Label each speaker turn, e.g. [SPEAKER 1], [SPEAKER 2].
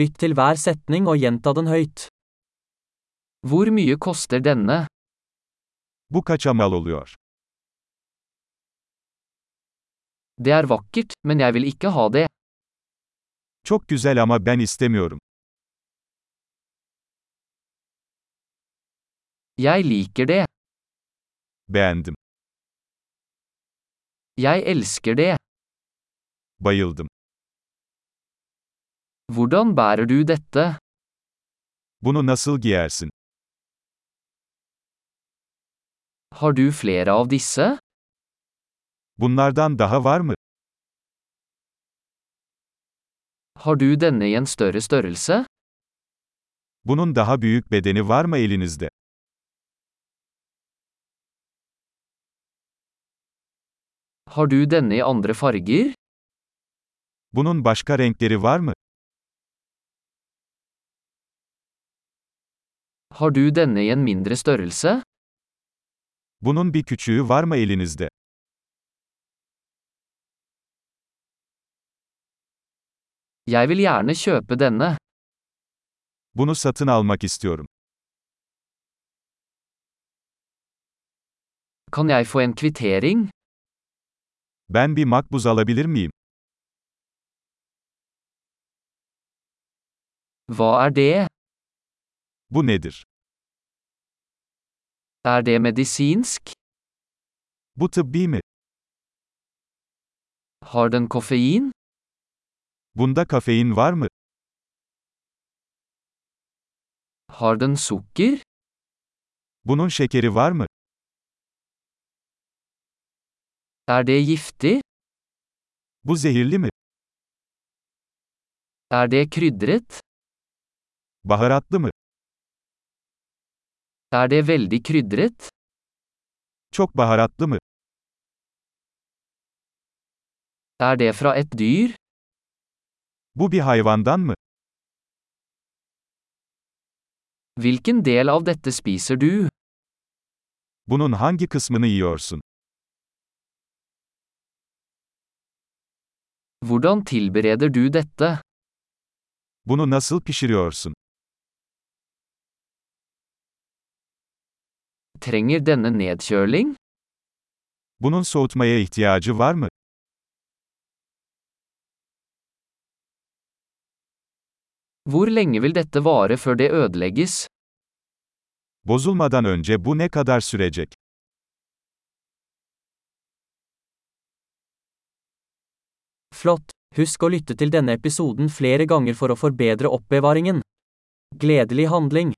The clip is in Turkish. [SPEAKER 1] Lytt til hver setning og gjenta den høyt. Hvor mye koster denne?
[SPEAKER 2] Bu kaça mal oluyor?
[SPEAKER 1] Det er vakkert, men jeg vil ikke ha det.
[SPEAKER 2] Çok güzel ama ben istemiyorum.
[SPEAKER 1] Jeg liker det.
[SPEAKER 2] Beğendim.
[SPEAKER 1] Jeg elsker det.
[SPEAKER 2] Bayıldım.
[SPEAKER 1] Hvordan bærer du dette?
[SPEAKER 2] Bunu nasıl giyersin?
[SPEAKER 1] Har du flere av disse?
[SPEAKER 2] Bunlardan daha var mı?
[SPEAKER 1] Har du denne i en større størrelse?
[SPEAKER 2] Bunun daha büyük bedeni var mı elinizde?
[SPEAKER 1] Har du denne i andre farger?
[SPEAKER 2] Bunun başka renkleri var mı?
[SPEAKER 1] Har du denne i en mindre størrelse?
[SPEAKER 2] Bunun bir küçüğü var mı elinizde?
[SPEAKER 1] Jeg vil gjerne kjøpe denne.
[SPEAKER 2] Bunu satın almak istiyorum.
[SPEAKER 1] Kan jeg få en kvittering?
[SPEAKER 2] Ben bir makbuz alabilir miyim?
[SPEAKER 1] Hva er det?
[SPEAKER 2] Bu nedir?
[SPEAKER 1] Er det medisinsk?
[SPEAKER 2] Bu tıbbi mi?
[SPEAKER 1] Har den koffein?
[SPEAKER 2] Bunda kafein var mı?
[SPEAKER 1] Har den sukker?
[SPEAKER 2] Bunun şekeri var mı?
[SPEAKER 1] Er det giftig?
[SPEAKER 2] Bu zehirli mi?
[SPEAKER 1] Er det krydret?
[SPEAKER 2] Baharatlı mı?
[SPEAKER 1] Er det veldig krydret?
[SPEAKER 2] Çok baharatlı mı?
[SPEAKER 1] Er det fra et dyr?
[SPEAKER 2] Bu bir hayvandan mı?
[SPEAKER 1] Hvilken del av dette spiser du?
[SPEAKER 2] Bunun hangi kısmını yiyorsun?
[SPEAKER 1] Hvordan tilbereder du dette?
[SPEAKER 2] Bunu nasıl pişiriyorsun?
[SPEAKER 1] Trenger denne nedkjøling?
[SPEAKER 2] Bunun soğutmaya ihtiyacı var mı?
[SPEAKER 1] Hvor lenge vil dette vare før det ødelegges?
[SPEAKER 2] Bozulmadan önce bu ne kadar sürecek?
[SPEAKER 1] Flott! Husk å lytte til denne episoden flere ganger for å forbedre oppbevaringen. Gledelig handling!